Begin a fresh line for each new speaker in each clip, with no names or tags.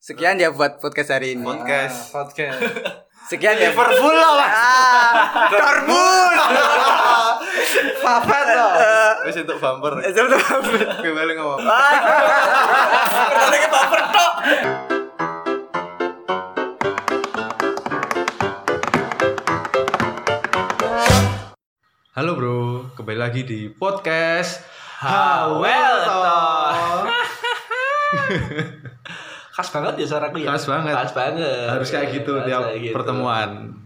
Sekian ya buat podcast hari ini.
Podcast.
Ah, podcast.
Sekian ya.
Liverpool loh mas.
Ah, Dortmund. Papat loh.
Wis untuk
Eh,
bumper.
Sebentar.
Kembali ngomong. Halo bro, kembali lagi di podcast Hawel Talk.
Khas banget ya suaraku ya.
Khas banget.
Khas banget.
Harus kayak gitu
Khas
tiap
kayak gitu.
pertemuan.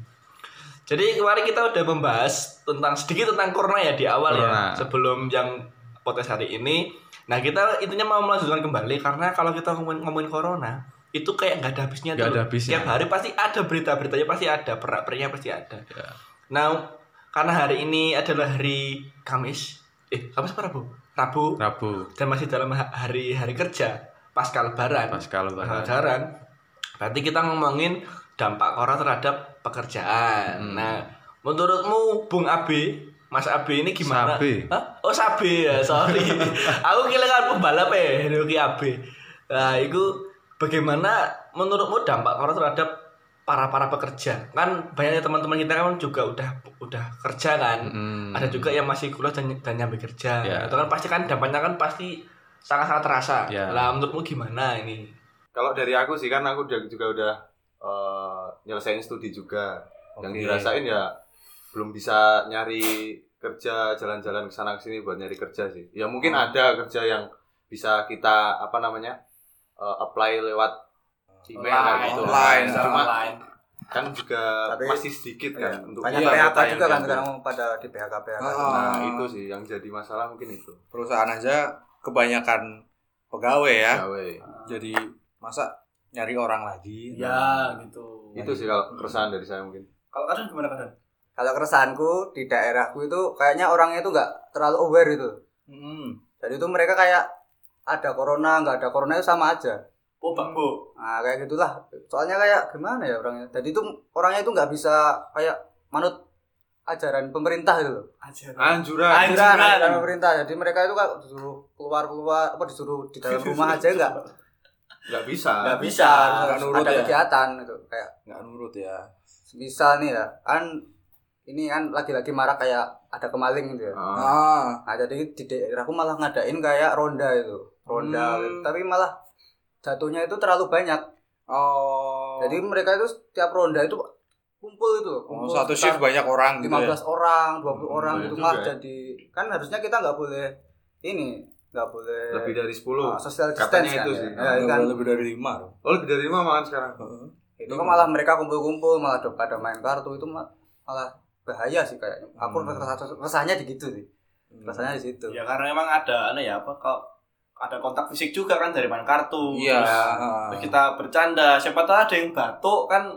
Jadi kemarin kita udah membahas tentang sedikit tentang corona ya di awal
Corona.
ya. Sebelum yang podcast hari ini. Nah kita intinya mau melanjutkan kembali karena kalau kita ngomongin, ngomongin corona itu kayak nggak ada habisnya
Nggak
tuh.
ada habisnya.
Tiap hari pasti ada berita-beritanya pasti ada perak-periknya pasti ada.
Ya.
Nah karena hari ini adalah hari Kamis. Eh Kamis apa Rabu? Rabu.
Rabu,
dan masih dalam ha- hari hari kerja pasca lebaran
Pasca Lebaran.
lebaran. berarti kita ngomongin dampak corona terhadap
Hmm.
pekerjaan nah menurutmu Bung Abe Mas Abe ini gimana?
Sabe.
Hah? Oh Sabe ya, sorry. Aku kira pembalap ya, Yuki Abe. Nah, itu bagaimana menurutmu dampak corona terhadap para para pekerja? Kan banyaknya teman-teman kita kan juga udah udah kerja kan.
Mm.
Ada juga yang masih kuliah dan, dan nyambi kerja.
Ya.
Itu kan pasti kan dampaknya kan pasti sangat-sangat terasa.
Ya.
Lah menurutmu gimana ini?
Kalau dari aku sih kan aku juga juga udah eh, nyelesain studi juga. Yang
Oke.
dirasain ya belum bisa nyari kerja jalan-jalan ke sana ke sini buat nyari kerja sih. Ya
Oh.
mungkin
Hmm.
ada kerja yang bisa kita apa namanya? eh, apply lewat email kayak
Online,
gitu.
online,
Cuma
secara online.
kan juga
Tapi-
masih sedikit kan untuk
banyak
anggota
PHK
yang
juga kan
diambil.
sekarang pada di PHK
kan.
PHK
Nah,
Oh.
itu sih yang jadi masalah mungkin itu.
Ah, perusahaan aja kebanyakan pegawai ya
Gawe.
jadi masa nyari orang lagi
Ya gitu.
Itu sih kalau keresahan dari saya mungkin.
Kalau kalian gimana kalian?
kalau keresahanku di daerahku itu kayaknya orangnya itu nggak terlalu aware gitu. itu
Hmm.
jadi itu mereka kayak ada corona nggak ada corona itu sama aja
Oh Bang Bo.
nah kayak gitulah soalnya kayak gimana ya orangnya jadi itu orangnya itu nggak bisa kayak manut ajaran pemerintah itu loh
Aja.
Anjuran.
Anjuran.
ajaran pemerintah jadi mereka itu kayak disuruh keluar keluar apa disuruh di dalam rumah aja nggak
Nggak bisa.
Nggak bisa.
nggak
harus
nurut
ada
ya.
kegiatan gitu kayak
nggak nurut ya
misal nih ya kan ini kan lagi-lagi marak kayak ada kemaling gitu ya
Ah.
ah
Nah, jadi di daerahku malah ngadain kayak ronda itu. Ronda, gitu.
Hmm.
tapi malah jatuhnya itu terlalu banyak.
oh
Jadi mereka itu setiap ronda itu kumpul itu, loh,
oh,
kumpul
satu shift
sekitar
banyak orang gitu
15
ya
orang, 20
Hmm,
orang
banyak
gitu
juga
malah
ya.
jadi kan harusnya kita nggak boleh ini, nggak boleh
Lebih dari 10.
ah, social
Katanya
distance kan
itu
ya.
sih.
Ya, kan.
Nggak boleh Iya, lebih dari lima loh
Oh lebih dari lima makan sekarang.
Itu
Iya.
kan malah mereka kumpul-kumpul malah ada pada main kartu itu ma- malah bahaya sih kayaknya. Aku
Hmm.
resah- resahnya di gitu sih. Rasanya di situ.
Ya karena emang ada anu ya apa kalau ada kontak fisik juga kan dari main kartu.
iya
Terus-
Ah.
terus kita bercanda, siapa tahu ada yang batuk kan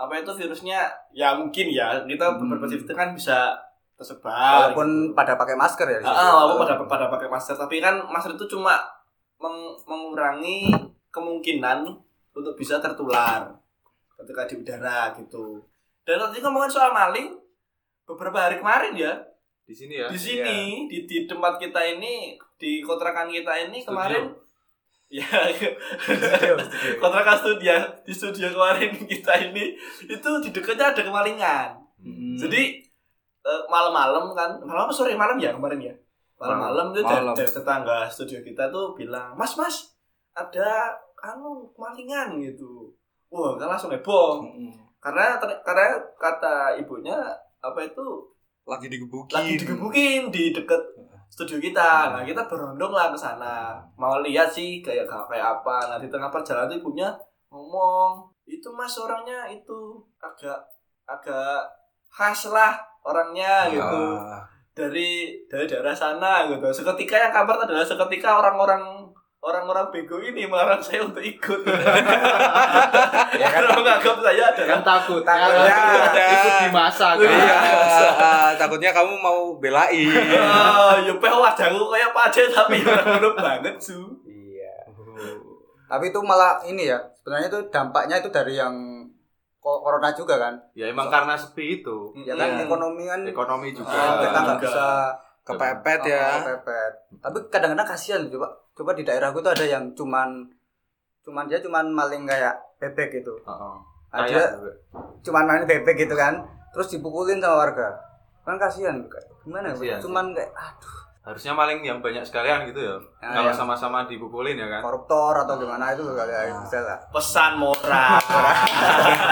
apa itu virusnya ya mungkin ya kita
Hmm.
berperspektif itu kan bisa tersebar.
Walaupun
gitu.
pada pakai masker ya di situ.
Ah, ah, walaupun pada pada pakai masker, tapi kan masker itu cuma meng- mengurangi kemungkinan untuk bisa tertular ketika di udara gitu. Dan tadi ngomongin soal maling beberapa hari kemarin ya
Di sini ya.
di sini di, di tempat kita ini di kontrakan kita ini
Studio.
kemarin ya kontrakan studio di studio kemarin kita ini itu di dekatnya ada kemalingan.
Hmm.
Jadi eh, malam-malam kan, malam apa sore malam ya kemarin ya. Malam-malam itu dari,
Malam.
dari tetangga studio kita tuh bilang, "Mas, Mas, ada anu kemalingan gitu." Wah, kan langsung heboh.
Mm-mm.
Karena ter- karena kata ibunya apa itu
lagi digebukin
lagi digebukin di deket studio kita. Nah, kita berondong lah ke sana. Mau lihat sih kayak kayak apa. Nah, di tengah perjalanan tuh ibunya ngomong, "Itu Mas orangnya itu agak agak khas lah orangnya gitu."
Ah.
dari dari daerah sana gitu. Seketika yang kabar adalah seketika orang-orang orang-orang bego ini melarang saya untuk ikut. ya kan menganggap saya adalah
Kan takut.
Iya.
Takutnya ada.
Ikut dimasak. kan?
Iya.
Ah, ah, takutnya kamu mau belain
Ah, ya peh wajahku kayak pace tapi orang belum banget su.
Iya. Tapi itu malah ini ya, sebenarnya itu dampaknya itu dari yang ko- corona juga kan.
Ya emang karena sepi itu.
Ya kan
Iya.
ekonomi kan uh,
Ekonomi juga.
kita nggak
juga. Iya.
bisa
kepepet ya
uh, pepet. Tapi kadang-kadang kasihan coba coba di daerahku itu ada yang cuman cuman dia cuman maling kayak bebek gitu
Heeh.
nah,
Kayak
dia
juga.
cuman main bebek gitu kan terus dipukulin sama warga kan kasihan gimana ya
Kasihan sih.
cuman kayak ah,
harusnya maling yang banyak sekalian gitu ya
Ah,
kalau
iya.
sama-sama dipukulin ya kan
koruptor atau gimana itu kali ya bisa lah
pesan moral
Iya.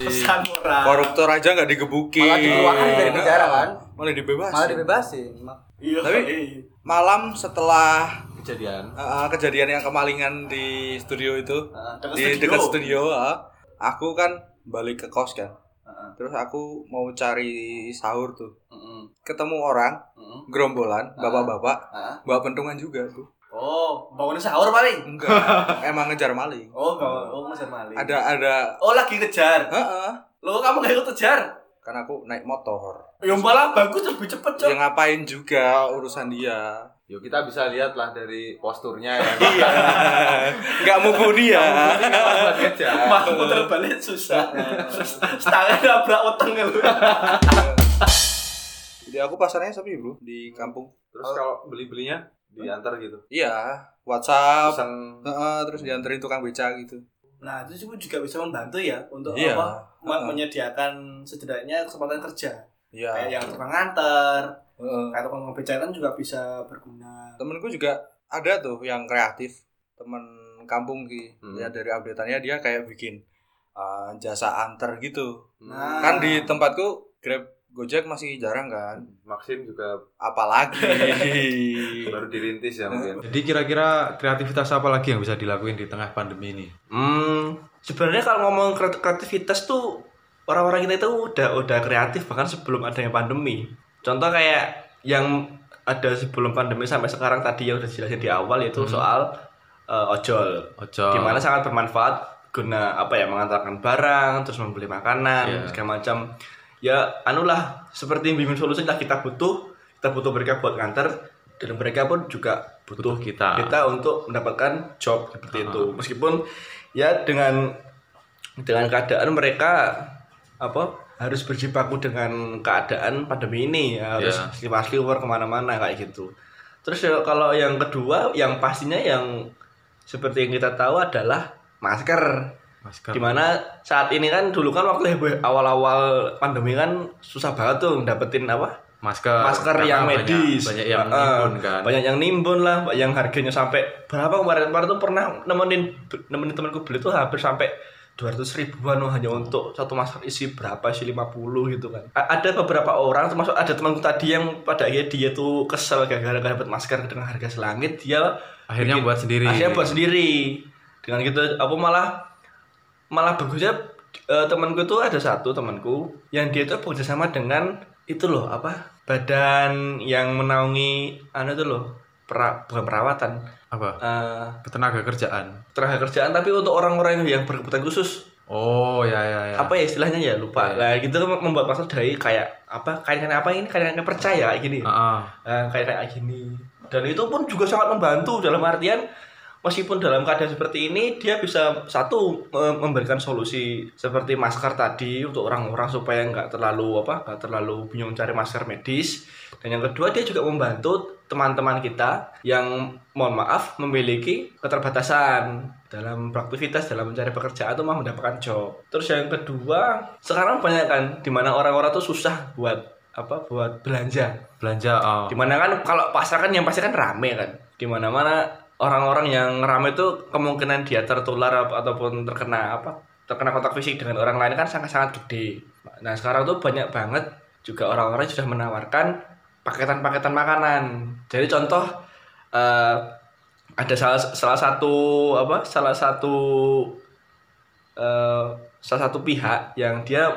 pesan moral
koruptor aja nggak digebukin
malah dikeluarkan dari penjara kan
malah dibebasin
malah dibebasin Ma-
iya
Tapi-
iya.
malam setelah
kejadian
uh, kejadian yang kemalingan di studio itu
Nah,
di dekat studio uh, aku kan balik ke kos kan
Heeh.
terus aku mau cari sahur tuh
ah. Mm-mm.
ketemu orang
Mm-mm.
gerombolan
Ah.
bapak-bapak
Heeh.
bawa pentungan juga tuh
oh bangun sahur paling
enggak emang ngejar maling
oh bangun oh ngejar maling
Iya. ada ada
oh lagi ngejar
Heeh.
lo kamu gak ikut ngejar
karena aku naik motor
ya malah bagus lebih cepet cok
ya ngapain juga urusan dia
yuk Ya, kita bisa lihat lah dari posturnya ya
nggak mumpuni ya
buat ngejar
Mah puter balik susah.
Iya.
Setangnya nabrak weteng lu.
jadi aku pasarnya sepi bro di kampung
terus kalau beli-belinya diantar gitu
iya WhatsApp
pesan
Heeh, terus dianterin tukang beca gitu
Nah, itu juga- juga bisa membantu ya untuk
Iya.
apa? me-
Heeh.
menyediakan setidaknya kesempatan kerja. Kayak
iya
yang tukang nganter,
Heeh.
kayak tukang ngebecakan juga bisa berguna.
temenku juga ada tuh yang kreatif temen kampung sih
Hmm.
ya dari updateannya dia kayak bikin uh, jasa antar gitu
Ah. Hmm.
Nah.
kan di tempatku grab gojek masih jarang kan
Maxim juga
apalagi
baru dirintis ya mungkin
Jadi kira-kira kreativitas apa lagi yang bisa dilakuin di tengah pandemi ini?
Hmm, sebenarnya kalau ngomong kreat- kreativitas tuh orang-orang kita itu udah udah kreatif bahkan sebelum adanya pandemi. Contoh kayak yang ada sebelum pandemi sampai sekarang tadi yang udah jelasin di awal yaitu soal eh, ojol,
Ojo.
dimana sangat bermanfaat guna apa ya mengantarkan barang, terus membeli makanan,
Iya.
segala macam. Ya, anulah seperti bimbing solusi lah kita butuh, kita butuh mereka buat nganter dan mereka pun juga
Butuh
butuh,
kita.
kita untuk mendapatkan job seperti itu meskipun ya dengan dengan keadaan mereka apa harus berjibaku dengan keadaan pandemi ini ya, harus
Ya.
asli asli keluar kemana-mana kayak gitu terus ya, kalau yang kedua yang pastinya yang seperti yang kita tahu adalah masker
Masker.
Dimana saat ini kan dulu kan waktu heboh- awal-awal pandemi kan susah banget tuh dapetin apa
Masker. Karena
masker yang
banyak-
medis
Banyak, yang
Eh,
nimbun kan.
banyak yang nimbun lah yang harganya sampai berapa kemarin kemarin tuh pernah nemenin nemenin temanku beli tuh hampir sampai 200 ribuan loh hanya untuk satu masker isi berapa sih 50 gitu kan A- ada beberapa orang termasuk ada temanku tadi yang pada akhirnya dia tuh kesel gara-gara nggak dapet masker dengan harga selangit dia
Akhirnya
bikin-
buat sendiri.
akhirnya Nah, buat sendiri dengan gitu apa malah malah bagusnya eh, temanku tuh ada satu temanku yang dia tuh bekerja sama dengan itu loh apa badan yang menaungi anu itu loh pera- bukan perawatan
Apa?
eh
Ketenaga kerjaan.
tenaga kerjaan tapi untuk orang-orang yang berkebutuhan khusus
Oh ya ya ya.
apa ya istilahnya ya lupa lah gitu kan membuat masker dari kayak apa kain-kain apa ini kain-kain percaya kayak gini
Ah,
Eh, kayak kayak gini dan itu pun juga sangat membantu dalam artian meskipun dalam keadaan seperti ini dia bisa satu eh, memberikan solusi seperti masker tadi untuk orang-orang supaya nggak terlalu apa nggak terlalu bingung cari masker medis dan yang kedua dia juga membantu teman-teman kita yang mohon maaf memiliki keterbatasan dalam beraktivitas dalam mencari pekerjaan atau mau mendapatkan job terus yang kedua sekarang banyak kan dimana orang-orang tuh susah buat apa buat belanja
belanja. ah.
Dimana kan kalau pasar kan yang pasti kan rame kan. Dimana mana orang-orang yang rame itu kemungkinan dia tertular ap- ataupun terkena apa terkena kontak fisik dengan orang lain kan sangat-sangat gede. Nah sekarang tuh banyak banget juga orang-orang sudah menawarkan paketan-paketan makanan. Jadi contoh eh, ada salah salah satu apa salah satu eh, salah satu pihak yang dia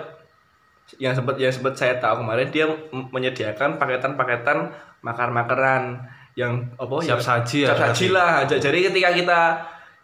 yang sempat yang sempat saya tahu kemarin dia m- menyediakan paketan-paketan makan-makanan yang apa
siap
yang-
saji ya.
siap saji lah. J- Jadi ketika kita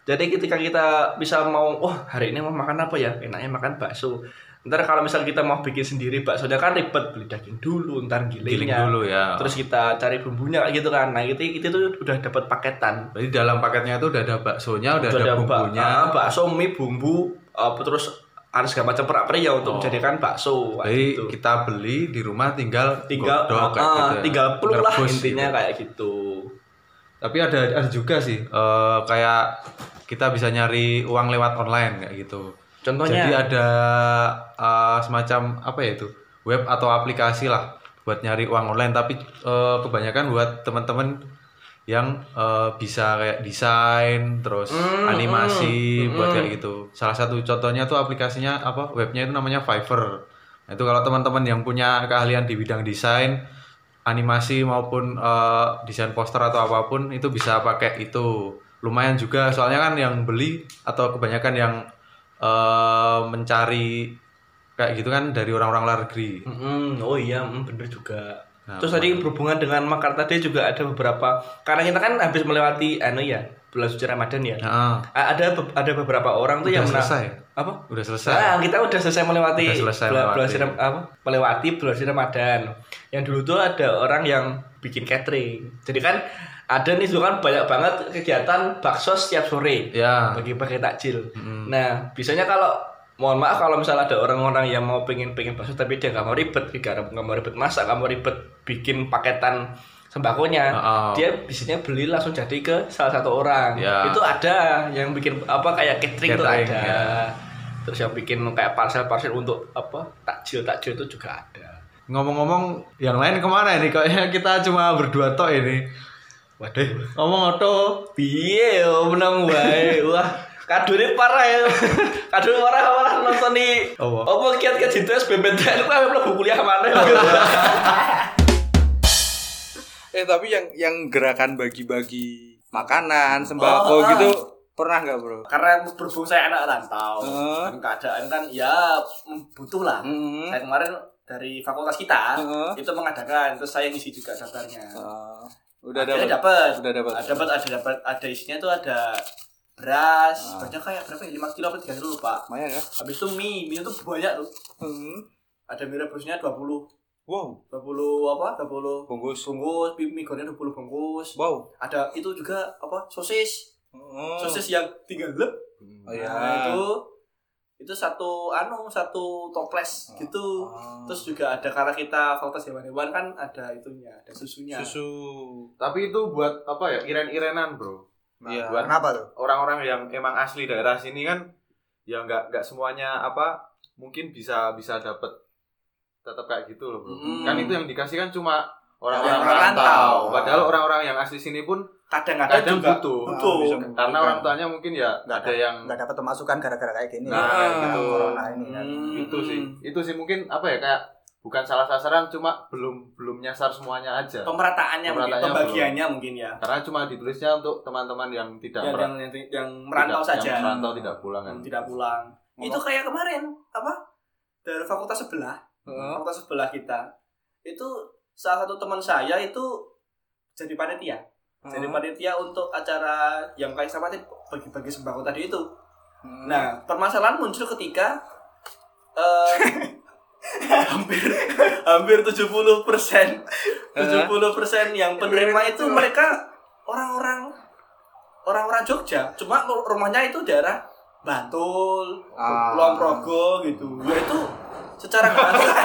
jadi ketika kita bisa mau oh hari ini mau makan apa ya? Enaknya makan bakso. Ntar kalau misal kita mau bikin sendiri baksonya kan ribet beli daging dulu, ntar
Giling
gilingnya.
dulu ya.
Terus kita cari bumbunya kayak gitu kan. Nah, itu itu tuh udah dapat paketan.
Jadi dalam paketnya itu udah ada baksonya, udah,
Udah
ada,
bak-
bumbunya.
ah, bakso, mie, bumbu, apa terus ada segala macam perak ya
Oh.
untuk menjadikan bakso. kayak
Jadi
gitu.
kita beli di rumah tinggal
tinggal
godok, kayak
ah,
gitu ya.
tinggal peluk lah
Rebus
intinya
gitu.
kayak gitu.
Tapi ada ada juga sih eh, kayak kita bisa nyari uang lewat online kayak gitu.
Contohnya?
Jadi ada eh, semacam apa ya itu web atau aplikasi lah buat nyari uang online. Tapi eh, kebanyakan buat teman-teman yang eh, bisa kayak desain terus animasi buat kayak gitu. Salah satu contohnya tuh aplikasinya apa webnya itu namanya Fiverr. Nah, itu kalau teman-teman yang punya keahlian di bidang desain animasi maupun eh, desain poster atau apapun itu bisa pakai itu lumayan juga soalnya kan yang beli atau kebanyakan yang eh, mencari kayak gitu kan dari orang-orang luar negeri
Mm-mm. oh iya, mm, bener juga.
Nah,
Terus tadi berhubungan dengan makar tadi juga ada beberapa karena kita kan habis melewati anu ya, bulan suci Ramadan ya.
Nah,
A- Ada be- ada beberapa orang tuh
Udah
yang mena-
selesai.
Apa?
udah selesai
Nah, kita udah selesai melewati
Udah selesai
bulan,
melewati.
bulan siram- apa? Melewati bulan suci Ramadan. Yang dulu tuh ada orang yang bikin catering. Jadi kan ada nih dulu kan banyak banget kegiatan bakso setiap sore
ya
bagi bagi takjil. Nah, biasanya kalau mohon maaf kalau misalnya ada orang-orang yang mau pengen pengen bakso tapi dia nggak mau ribet, nggak nggak mau ribet masak, nggak mau ribet bikin paketan sembakonya,
Oh.
dia biasanya beli langsung jadi ke salah satu orang.
Ya.
Itu ada yang bikin apa kayak catering, itu
Catering,
ada.
ya.
Terus yang bikin kayak parcel-parcel untuk apa takjil takjil itu juga ada.
ngomong-ngomong yang lain kemana ini kayaknya kita cuma berdua tok ini
Waduh.
ngomong oto
Piye yo menang wae. Wah, kadune parah ya. Kadune parah malah nonton di
Apa?
opo kiat kejitu SBMPTN ku ampe mlebu kuliah maneh.
Eh tapi yang yang gerakan bagi-bagi makanan, sembako
Oh, ah.
gitu pernah nggak bro?
karena berhubung saya anak rantau
Heeh.
dan keadaan kan ya mm, butuh lah
Hmm.
Heeh.
saya kemarin dari fakultas kita
Mm-hmm. Heeh.
itu mengadakan terus saya ngisi juga daftarnya
Ah, udah
Akhirnya
dapat.
dapat
Udah dapat.
ada dapat ada dapat ada isinya tuh ada beras
Ah.
banyak kayak berapa ya lima kilo apa tiga kilo lupa
Lumayan ya.
habis itu mie mie itu banyak tuh
Heeh.
ada mie rebusnya dua puluh
Wow,
dua puluh apa dua puluh
bungkus.
bungkus mie mie goreng dua puluh bungkus
Wow.
ada itu juga apa sosis
Oh.
sosis yang tiga lep
Oh, ya.
Nah, itu itu satu anu satu toples gitu.
Ah.
Terus juga ada karena kita fakultas hewan-hewan kan ada itunya, ada susunya.
susu.
Tapi itu buat apa ya? Iren-irenan, Bro.
Nah,
Iya.
buat
Kenapa tuh?
orang-orang yang emang asli daerah sini kan ya nggak nggak semuanya apa mungkin bisa bisa dapet tetap kayak gitu loh bro
Mm-hmm.
Mm.
kan itu yang dikasih kan cuma orang-orang
Orang
rantau
rantau.
padahal orang-orang yang asli sini pun
Kadang-kadang
kadang
juga
butuh
butuh.
Ah, bisa.
karena orang tuanya mungkin ya nggak ada yang
Enggak dapat pemasukan gara-gara kayak gini.
Nah,
Gara-gara
gitu.
Corona ini kan.
Hmm,
itu sih
hmm.
itu sih mungkin apa ya kayak bukan salah sasaran cuma belum belum nyasar semuanya aja
Pemerataannya mungkin,
Pemerataannya
pembagiannya mungkin ya.
karena cuma ditulisnya untuk teman-teman yang tidak
Yang,
mer-
yang, yang, yang merantau
tidak-
saja.
yang merantau tidak pulang kan
Hmm, tidak pulang. Itu kayak kemarin apa? Dari fakultas sebelah, fakultas sebelah kita. Itu salah satu teman saya itu jadi panitia. jadi panitia untuk acara yang kayak sama tadi bagi-bagi sembako tadi itu. Nah, permasalahan muncul ketika eh, hampir hampir 70 persen 70 yang penerima itu mereka orang-orang orang-orang Jogja cuma ru- rumahnya itu daerah Bantul,
Ah.
Kulon Progo gitu. Ya itu secara nggak langsung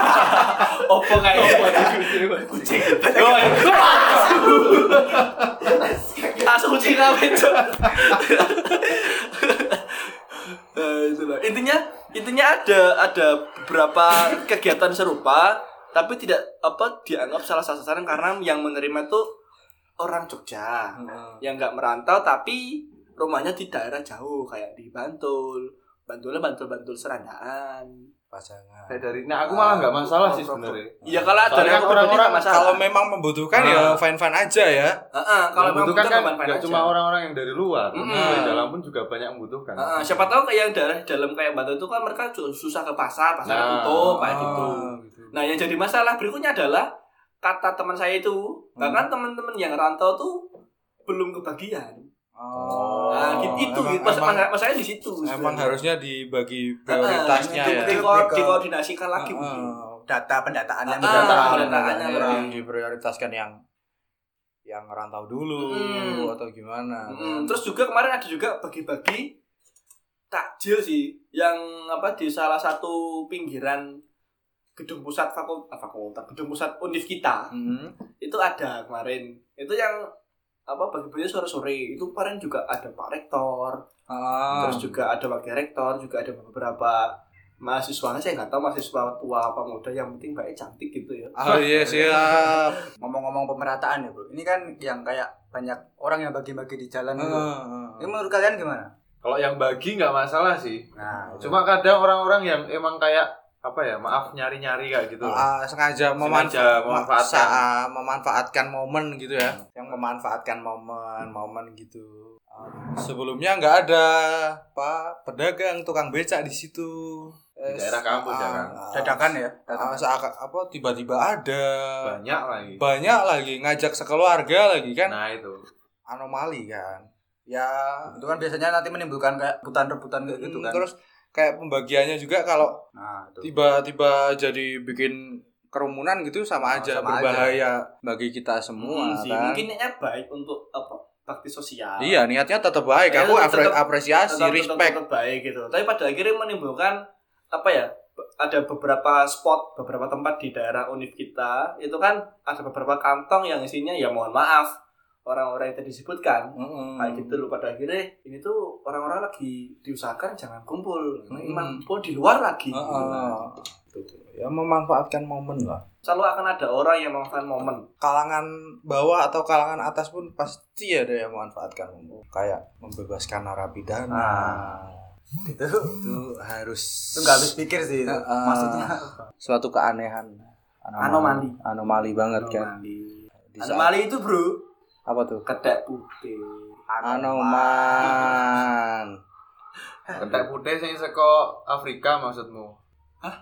opo kayak ya? kucing. Oh, langsung kucing apa itu? Nah, itulah. Intinya intinya ada ada beberapa kegiatan serupa tapi tidak apa dianggap salah sasaran karena yang menerima itu orang Jogja yang Ya, nggak merantau tapi rumahnya di daerah jauh kayak di Bantul Bantulnya Bantul-Bantul Serandaan
pasangan.
Kayak dari nah aku malah nggak masalah sih sebenarnya
Iya Ah. kalau ada
Soalnya
yang
kan
pribadi
orang-orang
nggak masalah
Nah, Kalau memang membutuhkan ya fine-fine aja ya.
Heeh, kalau memang
membutuhkan kan
butuh, aman-aman
nggak
aja.
cuma orang-orang yang dari luar,
Mm-mm.
orang dalam pun juga banyak yang membutuhkan.
Heeh, siapa tahu kayak yang daerah dalam kayak Bantul itu kan mereka su- susah ke pasar pasar
Nah.
tutup kayak gitu
Ah,
nah yang jadi masalah berikutnya adalah kata teman saya itu bahkan teman-teman yang rantau tuh belum kebagian
Oh.
nah, gitu- itu
Emang-
mas,
emang-
mas- masalahnya di situ
Emang
sebenarnya.
harusnya dibagi prioritasnya
Heeh,
ya.
di- diko- dikoordinasikan lagi mungkin.
Ah,
Data pendataannya Nah,
Ah,
mendadak.
data pendataannya
yang
kurang.
diprioritaskan yang yang rantau dulu
Mm.
atau gimana.
Mm, terus juga kemarin ada juga bagi-bagi takjil sih yang apa di salah satu pinggiran gedung pusat ah, Hmm. fakultas, fakultas gedung pusat univ kita
Mm.
itu ada kemarin itu yang apa pagi-pagi sore-sore itu kemarin juga ada Pak Rektor,
Ah.
terus juga ada Wakil Rektor, juga ada beberapa mahasiswa saya nggak tahu mahasiswa tua apa muda yang penting baik cantik gitu ya.
Oh iya siap.
Ngomong-ngomong pemerataan ya bro, ini kan yang kayak banyak orang yang bagi-bagi di
Kan
jalan gitu.
Hmm.
Ini
Heeh.
menurut kalian gimana?
Kalau yang bagi nggak masalah sih.
Nah,
Hmm.
Cuma kadang orang-orang yang emang kayak apa ya, maaf nyari-nyari kayak gitu. loh.
Ah, sengaja
Sengaja
memanfa-
memanfaatkan.
sa- memanfaatkan momen gitu
Nah.
ya yang memanfaatkan momen momen gitu Ah, sebelumnya nggak ada pak pedagang tukang becak di situ
Di daerah kampus ya kan?
dadakan ya.
Ah,
dadakan.
seakan- apa tiba-tiba ada
Banyak lagi.
banyak lagi ngajak sekeluarga lagi kan
Nah itu.
anomali kan ya
Itu kan biasanya nanti menimbulkan kayak rebutan-rebutan kayak gitu
Hmm,
mm,
kan.
terus kayak pembagiannya juga kalau
nah, itu.
tiba-tiba jadi bikin kerumunan gitu
Oh,
sama aja
sama
berbahaya bagi kita semua
Hmm, sih,
kan
mungkin niatnya baik untuk apa bakti sosial.
iya niatnya tetap baik
Iya,
aku
tetap-
apre-
tetap-
apresiasi
tetap, tetap-
respect
tetap baik gitu. Tapi pada akhirnya menimbulkan apa ya? be- Ada beberapa spot, beberapa tempat di daerah univ kita itu kan ada beberapa kantong yang isinya ya mohon maaf orang-orang yang tadi disebutkan
Mm-mm.
kayak gitu loh pada akhirnya ini tuh orang-orang lagi diusahakan jangan kumpul
Hmm.
Emang kumpul di luar lagi
Heeh. ya memanfaatkan momen lah
selalu akan ada orang yang memanfaatkan momen
kalangan bawah atau kalangan atas pun pasti ada yang memanfaatkan momen kayak membebaskan narapidana
Itu
itu harus
itu nggak habis pikir sih itu.
Heeh.
Maksudnya
suatu keanehan
anomali
anomali banget kan
anomali
Di saat-
anomali itu bro
apa tuh
kedek putih
Anoman.
Kentek putih sing seko Afrika maksudmu? Hah?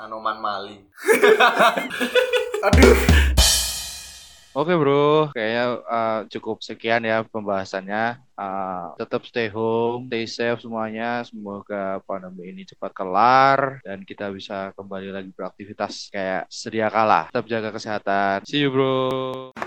Anoman Mali.
Oke bro, kayaknya uh, cukup sekian ya pembahasannya. Uh, tetap stay home, stay safe semuanya. Semoga pandemi ini cepat kelar dan kita bisa kembali lagi beraktivitas kayak sedia kala. Tetap jaga kesehatan. See you bro.